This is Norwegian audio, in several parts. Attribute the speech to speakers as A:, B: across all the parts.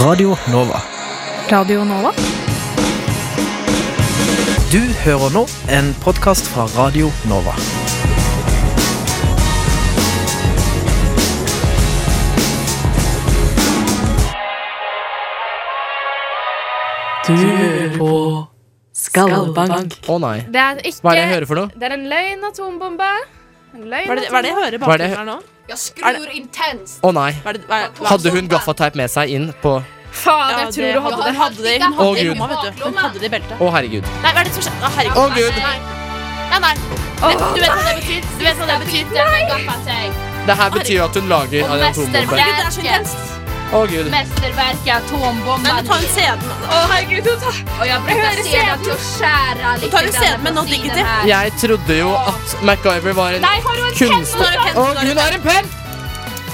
A: Radio Nova.
B: Radio Nova.
A: Du hører nå en podkast fra Radio Nova.
C: Du hører på Skallbank.
D: Å nei.
B: Det er ikke
D: Hva er det jeg hører for noe?
B: Det er en løgn atombombe. En løgn
C: Hva er det, hva er det jeg hører i
D: Hva er det-
C: bakgrunnen her nå?
E: Jeg
C: Er
E: skrur intenst.
D: Å nei.
C: Hva er det, hva er, hva,
D: Hadde hun gaffateip med seg inn på Å,
B: Faen, jeg
C: Ja,
B: tror
C: det-
B: du hadde
C: ja,
B: det.
C: Hun hadde det, hun
E: Å,
C: hadde det i
D: Gud.
C: lomma, vet du. Hun hadde det i beltet.
D: herregud.
C: Nei, hva er det som skjer? Å, herregud.
D: Å, Gud.
E: Nei,
C: Nei, nei. Du, du vet hva det betyr? Du vet hva det betyr?
E: bit denne gaffateg.
D: Det her betyr at hun lager
E: Og
D: en atombombe.
C: Herregud, det er så intenst.
D: Å, gud.
E: Mesterverket
C: Nei,
E: atombomben.
C: men ta en CD.
B: Å, herregud, hun tar
E: Og jeg bruker
B: hører
E: seden til å skjære litt
C: tar en
E: grann
C: CD, men
E: på
C: nå digger
E: siden
C: de.
E: her.
D: Jeg trodde jo at MacGyver var en
E: Nei, har du en
D: kunstner.
C: Nå er det penn,
D: Å,
C: nå er det
D: hun har en penn!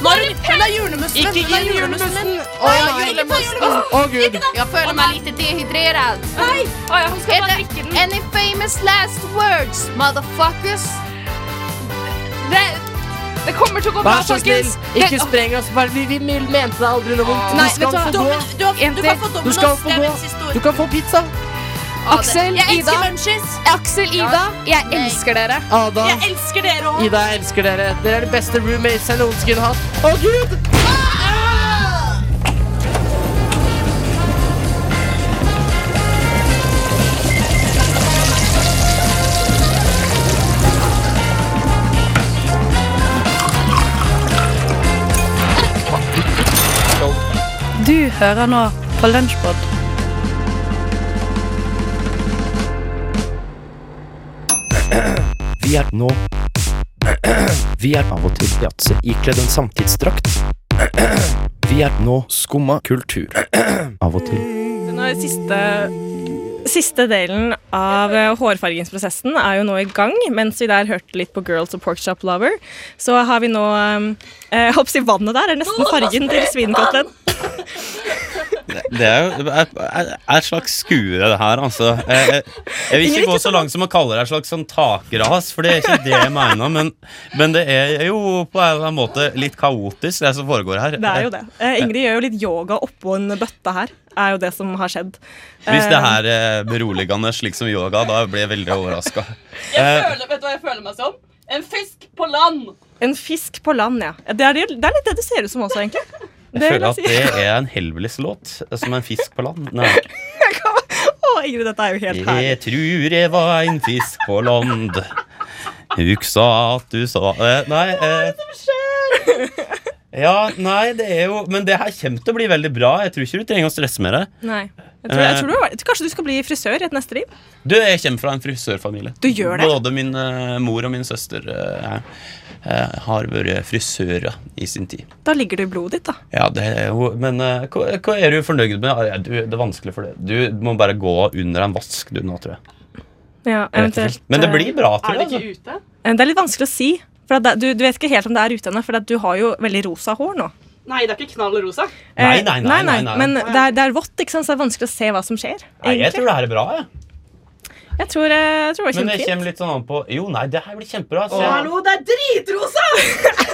C: Nå er hun, hun er julemussen.
D: Ikke
C: hun er
D: gi
C: julemussen.
D: Å, nei. Å, gud.
E: Jeg føler meg litt dehydrert.
B: Å ja, hun skal
E: Er
B: bare
E: det-
B: drikke den.
E: Any famous last words, motherfuckers?
B: Det, det kommer til å gå bra,
D: Vær så snill,
B: folkens.
D: ikke spreng oss. Bare- Vi, vi mente deg aldri noe vondt.
B: Nei,
D: Du skal
B: vet
D: få
C: Dommen-
D: gå.
C: Du, har- du kan få
D: Du
C: dommen
D: skal
C: oss.
D: få
C: Det er
D: gå.
C: mitt siste
D: Du
C: ord.
D: kan få pizza.
B: Aksel,
C: Jeg
B: Ida,
C: elsker munchies.
B: Aksel, Ida, jeg
E: Nei.
B: elsker dere.
D: Ada,
C: Jeg elsker dere òg.
D: Ida, jeg elsker dere. Dere er de beste roommates jeg noensinne kunne hatt. Å, gud!
F: Du hører nå på Lunsjpod.
G: Vi er nå Vi er av og til yatzy ikledd en samtidsdrakt. Vi er nå skumma kultur. Av og til.
H: Når siste, siste delen av eh, hårfargingsprosessen er jo nå i gang. Mens vi der hørte litt på Girls og Porkchop Lover, så har vi nå eh, Jeg holdt på å si vannet der er nesten fargen til svinekotelen.
I: Det er jo er, er, er et slags skue, det her, altså. Jeg, jeg, jeg vil ikke gå så langt som å kalle det et slags sånn takras, for det er ikke det jeg mener. Men, men det er jo på en eller annen måte litt kaotisk, det som foregår her.
H: Det er jo det. Eh, Ingrid gjør jo litt yoga oppå en bøtte her. Er jo det som har skjedd.
I: Eh, Hvis det her er
H: Eh.
I: beroligende, slik som yoga, da blir jeg veldig Eh, overraska.
C: Vet du hva jeg føler meg som? En fisk på land.
H: En fisk på land, ja. Det er, det det er litt det du ser ut som også, egentlig.
I: Jeg føler at
H: vil
I: det
H: jeg
I: er en Hellbillies-låt, som en fisk på land. Nei.
H: si. Å, Ingrid, dette er jo helt herlig.
I: Jeg tror jeg var en fisk på land. Huksa at du sa eh, Nei. Eh, ja, nei, det er jo Men det her kommer til å bli veldig bra. Jeg tror ikke du trenger å stresse med det.
H: Nei. Jeg tror, jeg tror du, jeg tror kanskje du skal bli frisør i et neste liv?
I: Du, jeg kommer fra en frisørfamilie.
H: Du gjør det.
I: Både min eh, mor og min søster eh, eh, har vært frisører i sin tid.
H: Da ligger det i blodet ditt, da.
I: Ja, det er jo Men eh, hva, hva er du fornøyd med? Ah, ja, Du, det er vanskelig for det. Du må bare gå under en vask, du nå, tror jeg.
H: Ja,
I: Rett og slett.
H: eventuelt.
I: Men det
H: eh,
I: blir bra, tror
C: Er det
I: jeg. Altså.
C: ikke ute?
H: Eh, Det er litt vanskelig å si. For at det, du, du vet ikke helt om det er ute ennå, for at du har jo veldig rosa hår nå.
C: Nei, det er ikke knall rosa.
H: Eh,
I: Nei, nei, nei, nei, nei.
H: Men det er, det er vått, ikke sant? så det er vanskelig å se hva som skjer.
I: Nei, jeg
H: egentlig.
I: tror det her er bra, jeg. Ja.
H: Jeg tror, eh, jeg tror det
I: Men
H: var
I: det
H: kjempefint.
I: kommer litt sånn an på Jo, nei, det her blir kjempebra. Så
C: Hallo, det er dritrosa!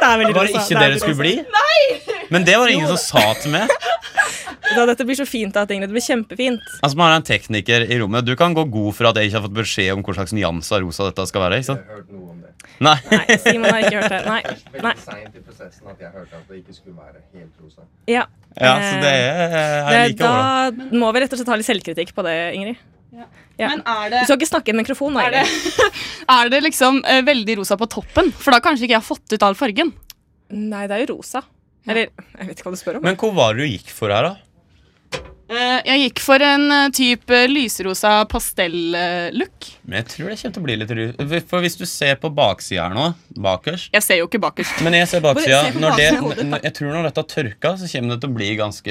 H: Det er veldig
I: var det
H: rosa,
I: ikke
H: det er
I: dere
H: veldig
I: skulle
H: rosa.
I: bli? Nei! Men det var det ingen som sa til meg.
H: Da, dette blir så fint, da, Ingrid. Det blir kjempefint.
I: Altså, Man har en tekniker i rommet. Du kan gå god for at jeg ikke har fått beskjed om hva slags nyanse av rosa dette skal være. ikke sant? Jeg har hørt noe om det. Nei.
H: Nei, Simon har ikke hørt det. Nei. nei.
J: seint i prosessen at jeg hørte at det ikke skulle være helt rosa.
H: Ja.
I: Ja, så det er Jeg
H: Eh, Det-
I: liker overraskende.
H: da må vi rett og slett ha litt selvkritikk på det, Ingrid. Ja.
C: Men er
H: Du
C: det,
H: skal ikke snakke i en mikrofon, da.
C: er det,
H: Ingrid.
C: er det liksom eh, veldig rosa på toppen? For da kanskje ikke jeg har fått ut all fargen.
H: Nei, det er jo rosa. Eller jeg vet ikke hva du spør om.
I: Men hvor var det du gikk for her, da?
C: Eh, jeg gikk for en eh, type lyserosa pastell-look.
I: Men jeg tror det kommer til å bli litt rus. For hvis du ser på baksida her nå, bakerst
C: Jeg ser jo ikke bakerst.
I: Men jeg ser baksida.
H: Bare se på
I: Når det,
H: baksiden av hodet ditt, da.
I: n- jeg tror når dette har tørka, så kommer det til å bli ganske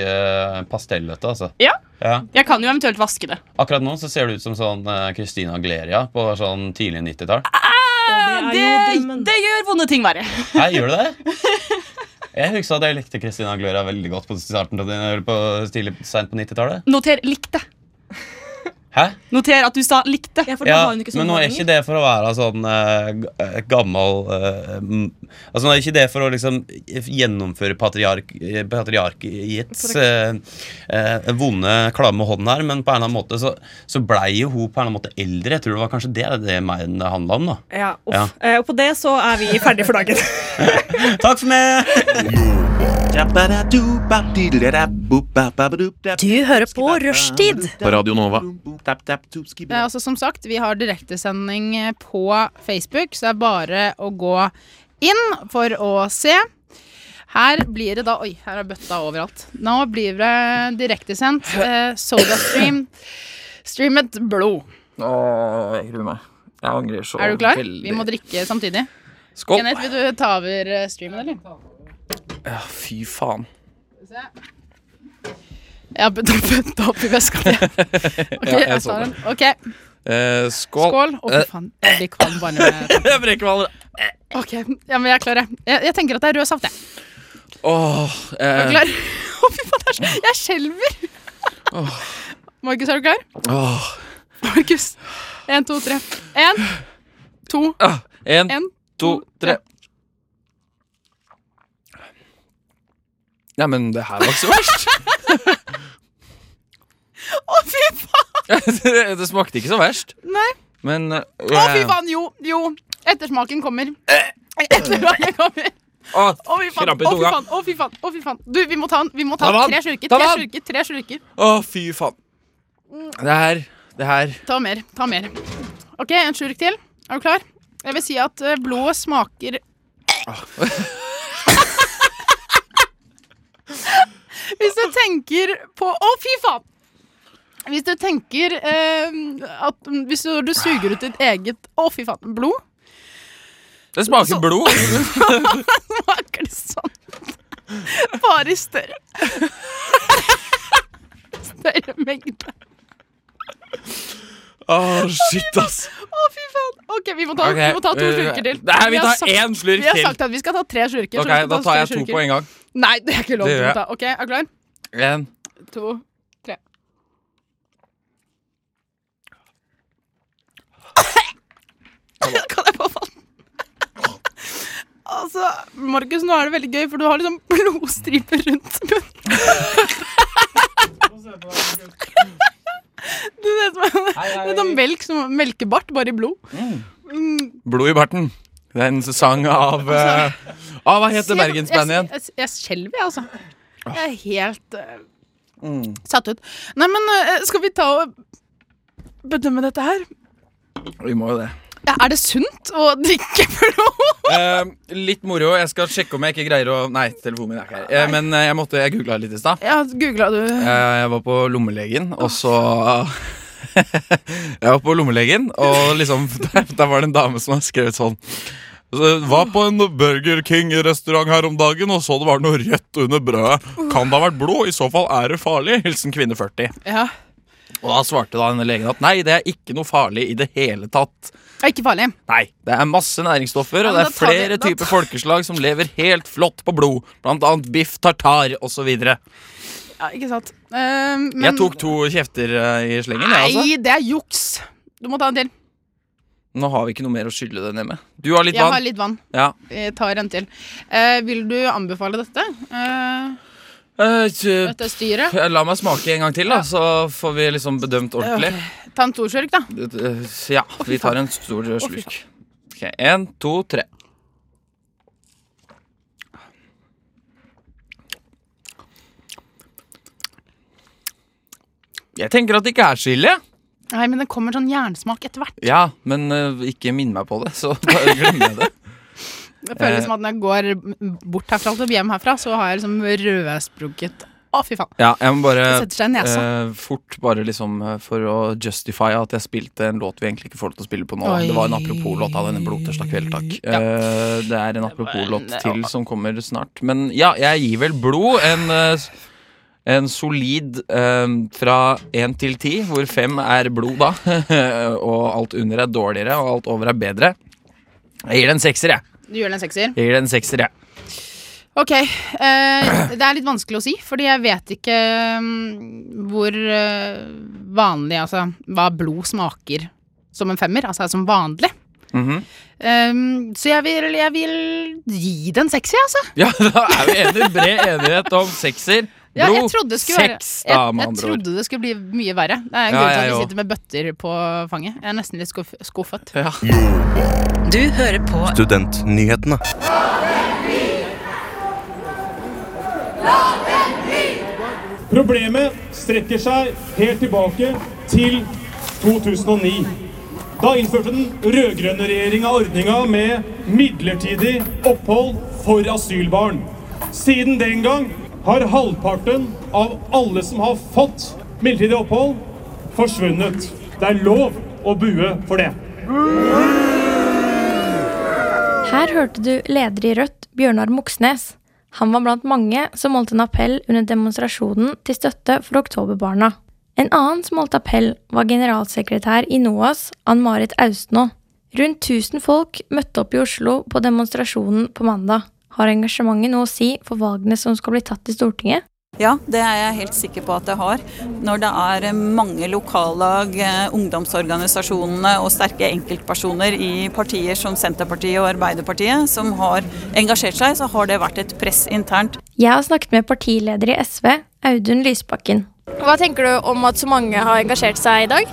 I: pastellete, altså.
C: Ja.
I: ja.
C: Jeg kan jo eventuelt vaske det.
I: Akkurat nå så ser det ut som sånn eh, Christina Gleria på sånn tidlig 90-tall.
H: Å, det er jo drømmen.
C: gjør vonde ting verre.
I: Hæ, gjør det det? Jeg husker at jeg likte Christina Gleria veldig godt på starten til- eller på tidlig, sent på 90-tallet.
C: Noter likte.
I: Hæ?
C: Noter at du sa likte.
H: Ja, for
I: Ja,
H: nå har hun ikke sånn
I: men nå er
H: holdninger.
I: ikke det for å være sånn eh, g- eh, gammel eh, m- Altså, nå er ikke det for å liksom gjennomføre patriark, eh, patriarkiets eh, eh, vonde, klamme hånd her, men på en eller annen måte så, så blei jo hun på en eller annen måte eldre. Jeg tror det var kanskje det det meg det handla om, da.
H: Ja, uff.
I: Ja.
H: Eh, og på det så er vi ferdige for dagen.
I: Takk for meg!
F: Du hører på Rushtid.
K: På Radio Nova.
B: Det er også Eh, altså, som sagt, vi har direktesending eh, på Facebook, så det er bare å gå inn for å se. Her blir det da Oi, her er bøtta overalt. Nå blir det direktesendt eh, SodaStream. Streamet blod.
K: Åh, jeg gruer meg. Jeg angrer så
B: Er du klar?
K: veldig.
B: Vi må drikke samtidig.
K: Skål.
B: Kenneth, vil du ta over eh, streamen, eller?
K: Ja, fy faen.
B: Jeg har bøtta opp i veska di. Ok,
K: Ja, jeg
B: jeg
K: så
B: tar
K: det.
B: den. Ok,
K: Eh, skål.
B: skål. Å, fy faen. Jeg blir kvalm bare når jeg Eh.
K: Jeg brekker meg allerede.
B: Ok, ja, men jeg er klar, jeg. Jeg, jeg tenker at det er rød saft, jeg.
K: Åh,
B: Er du
K: eh,
B: klar? Å, fy faen, det er så- jeg skjelver! Markus, er du klar?
K: åh.
B: Markus. Én, to, tre. Én, to,
K: Ah, En,
B: En,
K: to,
B: to,
K: tre. Nei, men det her var ikke så verst.
B: Å, fy faen!
K: det, det smakte ikke så verst.
B: Nei.
K: Men eh,
B: Å, fy faen! Jo, jo. Ettersmaken kommer. Ettersmaken kommer.
K: Åh,
B: Å, fy faen. Å,
K: Krampe i
B: fy
K: tunga.
B: faen. Å, fy faen. Å, fy faen. Du, vi må ta den. Vi må ta
K: Ta vann.
B: tre slurker.
K: Ta
B: Tre
K: vann.
B: slurker. Tre slurker. Mm.
K: åh, fy faen. Det her, det her
B: Ta mer. Ta mer. OK, en slurk til. Er du klar? Jeg vil si at eh, blodet smaker
K: Ah.
B: Hvis du tenker på Å, fy faen! Hvis du tenker eh, at Hvis du, du suger ut ditt eget Å, fy faen. Blod?
K: Det smaker blod.
B: Smaker det sånn? Bare i større Større mengde.
K: Åh, shit, ass.
B: Å, fy faen. OK, vi må ta,
K: Ok,
B: vi må ta to
K: eh,
B: slurker til.
K: Nei, vi
B: har
K: tar
B: sagt-
K: én slurk
B: Vi har
K: til.
B: sagt at vi skal ta tre slurker.
K: Ok, Da tar jeg to på en gang.
B: Nei, det er ikke lov
K: Det
B: til
K: gjør
B: å
K: jeg.
B: ta. Ok, er du klar?
K: En.
B: To, tre. kan jeg få vann? altså, Markus, nå er det veldig gøy, for du har liksom blodstriper rundt munnen. Du ser ut som en- det er sånn melk som melkebart, bare i blod. Mm,
K: Blod i barten. Det er en sesong av
H: Altså-
K: eh, ah, Hva heter Bergensbandet igjen?
B: Jeg, jeg, jeg skjelver, jeg, altså. Jeg er helt eh,
K: Mm.
B: satt ut. Nei, men eh, skal vi ta og bedømme dette her?
K: Vi må jo det.
B: Ja, Er det sunt å drikke blod?
K: Eh, litt moro. Jeg skal sjekke om jeg ikke greier å Nei, telefonen min er ikke her. Eh, men eh, jeg måtte, jeg googla litt i stad.
B: Ja, googla du
K: Eh, jeg var på lommelegen, og så Jeg var på lommelegen, og liksom der, der var det en dame som hadde skrevet sånn så, var på en Burger King-restaurant her om dagen og så det var noe rødt under brødet. Kan det ha vært blod? I så fall er det farlig. Hilsen kvinne 40.
B: Ja.
K: Og da svarte da denne legen at nei, det er ikke noe farlig i det hele tatt.
B: Er ikke farlig.
K: Nei, det er masse næringsstoffer,
B: Ja,
K: og
B: men
K: det
B: da
K: er
B: tar vi-
K: flere
B: da
K: typer folkeslag som lever helt flott på blod. Blant annet biff tartar osv. Jeg
B: Ja, ikke sant. Eh, men
K: tok to kjefter eh, i slengen, jeg, altså.
B: Nei, det er juks! Du må ta en til.
K: Nå har vi ikke noe mer å skylle det ned med. Du har litt
B: Jeg har
K: vann.
B: litt vann.
K: Ja.
B: Jeg tar en til. Eh, vil du anbefale dette? Eh,
K: Eh, tj-
B: dette styret?
K: La meg smake en gang til, da, så får vi liksom bedømt ordentlig.
B: Ta en stor slurk, da.
K: Eh, Ja, vi tar en stor eh, slurk. Ok, Én, to, tre. Jeg tenker at det ikke er så ille.
B: Nei, men det kommer sånn jernsmak etter hvert.
K: Ja, men eh, ikke minn meg på det, så bare glemmer jeg det.
B: Jeg føler
K: Eh.
B: som at når jeg går bort herfra og hjem herfra, så har jeg liksom rødsprukket Å, fy faen.
K: Ja, jeg må bare
B: Det setter seg i nesa.
K: eh, fort bare liksom eh, for å justify at jeg spilte en låt vi egentlig ikke får lov til å spille på nå.
B: Oi.
K: Det var en apropos-låt av denne blodtørsta kvelden, takk. Eh, det er en eh, apropos-låt til som kommer snart. Men ja, jeg gir vel blod en, eh, en solid eh, fra én til ti, hvor fem er blod da. og alt under er dårligere, og alt over er bedre. Jeg gir det en sekser, jeg.
B: Du gjør den sekser.
K: Jeg gir det en sekser, jeg.
B: Ok. eh, det er litt vanskelig å si, fordi jeg vet ikke mm, hvor eh, vanlig Altså hva blod smaker som en femmer. Altså som vanlig.
K: Mhm.
B: Ehm, så jeg vil, jeg vil gi den sexy, altså.
K: Ja, da er vi enige. Bred enighet om sekser.
B: Ja, jeg
K: Blod.
B: trodde det skulle være-
K: Sex, da,
B: jeg,
K: med
B: jeg
K: andre ord.
B: trodde det skulle bli mye verre. Det er en
K: Ja,
B: grunn til
K: jeg
B: at vi
K: også.
B: sitter med bøtter på fanget. Jeg er nesten litt skuff skuffet.
L: Du hører på
M: Studentnyhetene.
N: Problemet strekker seg helt tilbake til 2009. Da innførte den rød-grønne regjeringa ordninga med midlertidig opphold for asylbarn. Siden den gang har halvparten av alle som har fått midlertidig opphold, forsvunnet. Det er lov å bue for det.
O: Her hørte du leder i Rødt, Bjørnar Moxnes. Han var blant mange som holdt en appell under demonstrasjonen til støtte for oktoberbarna. En annen som holdt appell, var generalsekretær i NOAS, Ann-Marit Austnå. Rundt 1000 folk møtte opp i Oslo på demonstrasjonen på mandag. Har engasjementet noe å si for valgene som skal bli tatt i Stortinget?
P: Ja, det er jeg helt sikker på at det har. Når det er eh, mange lokallag, eh, ungdomsorganisasjonene og sterke enkeltpersoner i partier som Senterpartiet og Arbeiderpartiet som har engasjert seg, så har det vært et press internt.
O: Jeg har snakket med partileder i SV, Audun Lysbakken.
F: Hva tenker du om at så mange har engasjert seg i dag?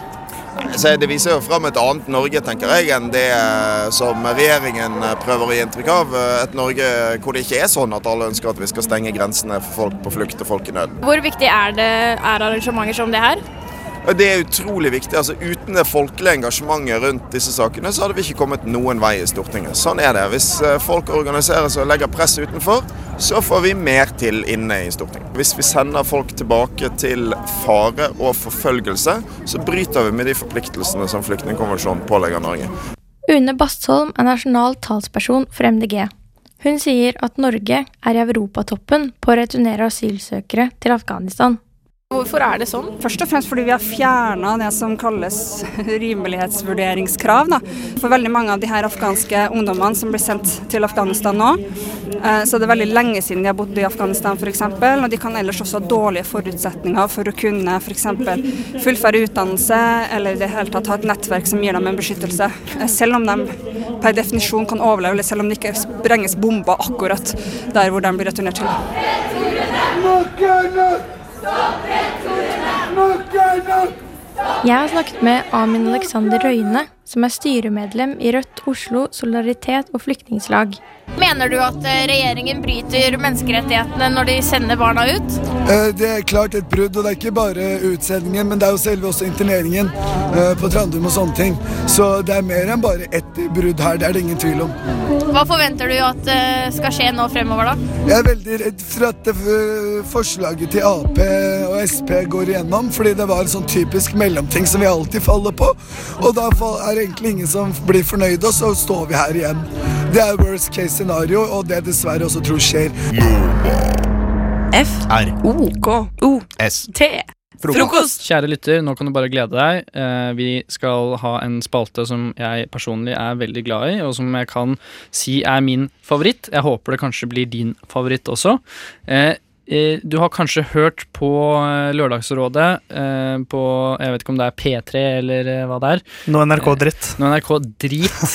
Q: Så det viser jo fram et annet Norge, tenker jeg, enn det eh, som regjeringen eh, prøver å gi inntrykk av. Eh, Et Norge hvor det ikke er sånn at alle ønsker at vi skal stenge grensene for folk på flukt og folk i nød.
F: Hvor viktig er, det, er arrangementer som det her?
Q: Og Det er utrolig viktig. altså Uten det folkelige engasjementet rundt disse sakene, så hadde vi ikke kommet noen vei i Stortinget. Sånn er det. Hvis eh, folk organiserer seg og legger press utenfor, så får vi mer til inne i Stortinget. Hvis vi sender folk tilbake til fare og forfølgelse, så bryter vi med de forpliktelsene som flyktningkonvensjonen pålegger Norge.
O: Une Bastholm er nasjonal talsperson for MDG. Hun sier at Norge er i europatoppen på å returnere asylsøkere til Afghanistan.
R: Hvorfor er det sånn? Først og fremst fordi vi har fjerna det som kalles rimelighetsvurderingskrav. Da. For veldig mange av de her afghanske ungdommene som blir sendt til Afghanistan nå, eh, så er det veldig lenge siden de har bodd i Afghanistan f.eks. Og de kan ellers også ha dårlige forutsetninger for å kunne f.eks. fullføre utdannelse eller i det hele tatt ha et nettverk som gir dem en beskyttelse. Eh, Selv om de per definisjon kan overleve, eller selv om det ikke sprenges bomber akkurat der hvor de blir returnert til.
O: Jeg har snakket med Amin Alexander Røyne, som er styremedlem i Rødt Oslo Solidaritet og Flyktningslag.
F: Mener du at eh, regjeringen bryter menneskerettighetene når de sender barna ut?
S: Eh, Det er klart et brudd, og det er ikke bare utsendingen, men det er jo selve også interneringen eh, på Trandum og sånne ting. Så det er mer enn bare ett brudd her, det er det ingen tvil om.
F: Hva forventer du at eh, skal skje nå fremover, da?
S: Jeg er veldig redd for at det eh, forslaget til Ap og Sp går igjennom, fordi det var en sånn typisk mellomting som vi alltid faller på. Og da fall- er det egentlig ingen som blir fornøyd, og så står vi her igjen. Det er worst case scenario, og det jeg dessverre også tror skjer.
T: F-R-O-K-O-S-T. Frokost! Kjære lytter, nå kan du bare glede deg. Eh, Vi skal ha en spalte som jeg personlig er veldig glad i, og som jeg kan si er min favoritt. Jeg håper det kanskje blir din favoritt også. Eh, eh, Du har kanskje hørt på eh, Lørdagsrådet eh, på Jeg vet ikke om det er P3 eller eh, hva det er.
A: Nå NRK-dritt.
T: Nå er NRK drit.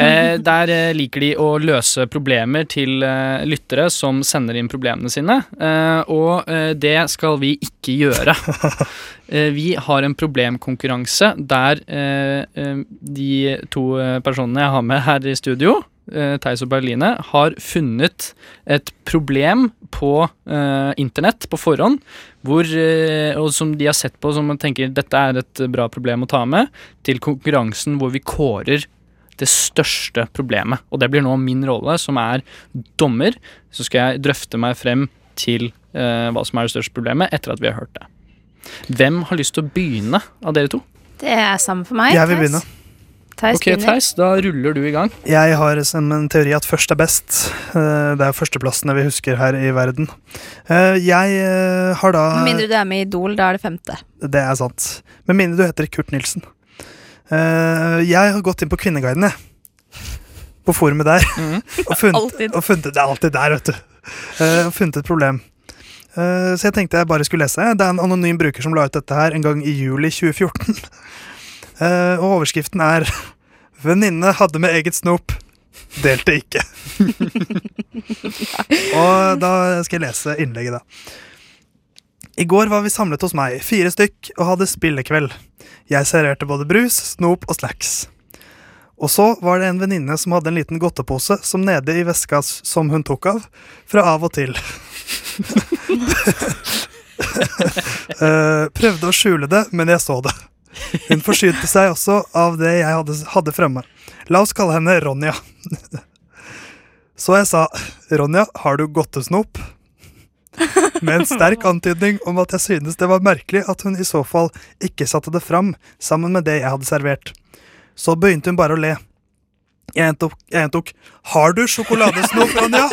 T: Eh, der eh, liker de å løse problemer til eh, lyttere som sender inn problemene sine. Eh, og eh, det skal vi ikke gjøre. Eh, vi har en problemkonkurranse der eh, eh, de to eh, personene jeg har med her i studio, eh, Theis og Berline, har funnet et problem på eh, internett på forhånd, hvor, eh, og som de har sett på som man tenker dette er et bra problem å ta med, til konkurransen hvor vi kårer det største problemet. Og det blir nå min rolle, som er dommer. Så skal jeg drøfte meg frem til eh, hva som er det største problemet, etter at vi har hørt det. Hvem har lyst til å begynne av dere to?
U: Det er samme for meg.
A: Jeg vil
U: Theis.
A: begynne.
U: Theis
T: Ok,
U: begynner.
T: Theis, da ruller du i gang.
A: Jeg har som en teori at først er best. Eh, Det er førsteplassene vi husker her i verden. Eh, Jeg eh, har da
U: Med mindre du er med i Idol, da er det femte.
A: Det er sant. Med mindre du heter Kurt Nilsen. Eh, jeg har gått inn på Kvinneguiden, jeg. på forumet der og, funnet,
M: Alltid.
A: og funnet Det er alltid der, vet du. Eh, og funnet et problem. Eh, så jeg tenkte jeg bare skulle lese. Det er en anonym bruker som la ut dette her en gang i juli 2014. Eh, og overskriften er 'Venninne hadde med eget snop. Delte ikke'. og da skal jeg lese innlegget, da. I går var vi samlet hos meg, fire stykk, og hadde spillekveld. Jeg serverte både brus, snop og snacks. Og så var det en venninne som hadde en liten godtepose som nede i veska s- som hun tok av, fra av og til. Eh, prøvde å skjule det, men jeg så det. Hun forsynte seg også av det jeg hadde, hadde fremme. La oss kalle henne Ronja. Så jeg sa, Ronja, har du godtesnop? Med en sterk antydning om at jeg synes det var merkelig at hun i så fall ikke satte det fram sammen med det jeg hadde servert. Så begynte hun bare å le. Jeg gjentok, jeg gjentok 'Har du sjokoladesnop, Ronja?'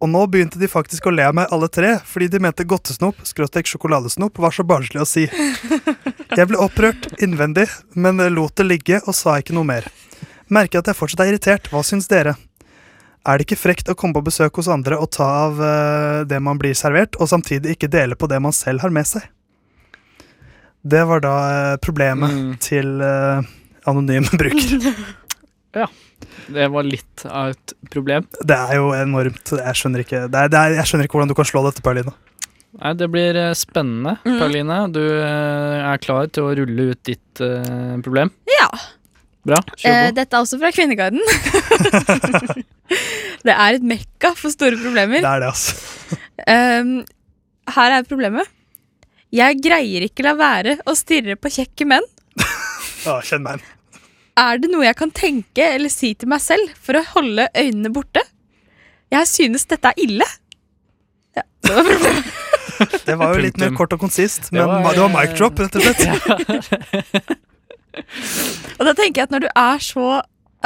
A: Og nå begynte de faktisk å le av meg alle tre, fordi de mente godtesnop skråstrek sjokoladesnop var så barnslig å si. Jeg ble opprørt innvendig, men lot det ligge og sa ikke noe mer. Merker at jeg fortsatt er irritert. Hva syns dere? Er det ikke frekt å komme på besøk hos andre og ta av eh, det man blir servert, og samtidig ikke dele på det man selv har med seg? Det var da eh, problemet
T: Mm.
A: til eh, anonym bruker.
T: Ja. Det var litt av et problem.
A: Det er jo enormt. Jeg skjønner ikke, det er, det er, jeg skjønner ikke hvordan du kan slå dette, Paulina.
T: Nei, det blir eh, spennende, Karoline. Du eh, er klar til å rulle ut ditt eh, problem?
U: Ja.
T: Bra.
U: Eh,
T: Kjør på.
U: dette er også fra Kvinneguiden. det er et mekka for store problemer.
A: Det er det, altså.
U: Ehm, her er problemet. Jeg greier ikke la være å stirre på kjekke menn.
A: Ja, kjenn meg igjen.
U: Er det noe jeg kan tenke eller si til meg selv for å holde øynene borte? Jeg synes dette er ille.
A: Det var jo litt mer
T: Punktum.
A: kort og konsist, men
T: Det var,
A: ma- det var
T: eh,
A: mic drop, rett og slett.
U: Og da tenker jeg at når du er så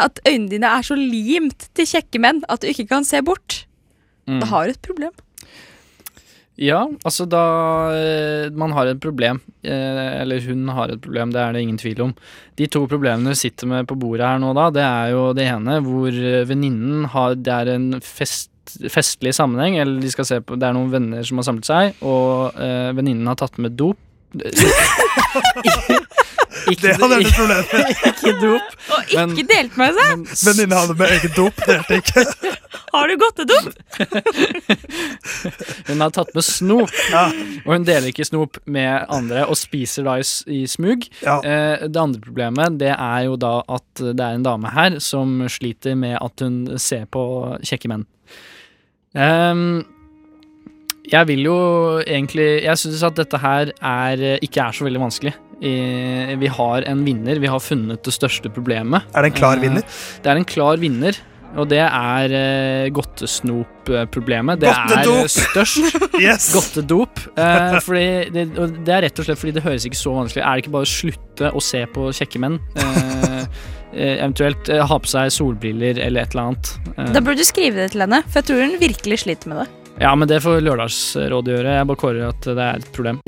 U: At øynene dine er så limt til kjekke menn at du ikke kan se bort,
T: Mm.
U: da har du et problem.
T: Ja, altså da eh, Man har et problem. eh, Eller hun har et problem, det er det ingen tvil om. De to problemene vi sitter med på bordet her nå, da, det er jo det ene hvor eh, venninnen har Det er en fest festlig sammenheng, eller de skal se på, det er noen venner som har samlet seg, og eh, venninnen har tatt med dop.
A: Det hadde vært et problem.
T: ikke dop.
U: Og ikke
T: Men-
U: delt med seg!
A: Venninne hadde med eget dop, delte ikke.
U: Har du godtedop?
T: Hun har tatt med snop, og hun deler ikke snop med andre og spiser da i, s- i smug. Eh, det andre problemet det er jo da at det er en dame her som sliter med at hun ser på kjekke menn. Ehm, jeg vil jo egentlig Jeg syns at dette her er, ikke er så veldig vanskelig. Eh, Vi har en vinner. Vi har funnet det største problemet.
A: Er det en klar
T: Eh,
A: vinner?
T: Det er en klar vinner, og det er eh, godtesnop-problemet. Det er
A: Godtedop!
T: eh, størst.
A: Yes.
T: Godtedop. Eh, fordi det, og det er rett og slett fordi det høres ikke så vanskelig Er det ikke bare å slutte å se på kjekke menn? Eh, eh, eventuelt eh, ha på seg solbriller eller et eller annet. Eh,
U: Da burde du skrive det til henne, for jeg tror hun virkelig sliter med det.
T: ja, men det får Lørdagsrådet gjøre. Jeg bare kårer at det er et problem.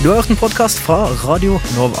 V: Du har hørt en podkast fra Radio Nova.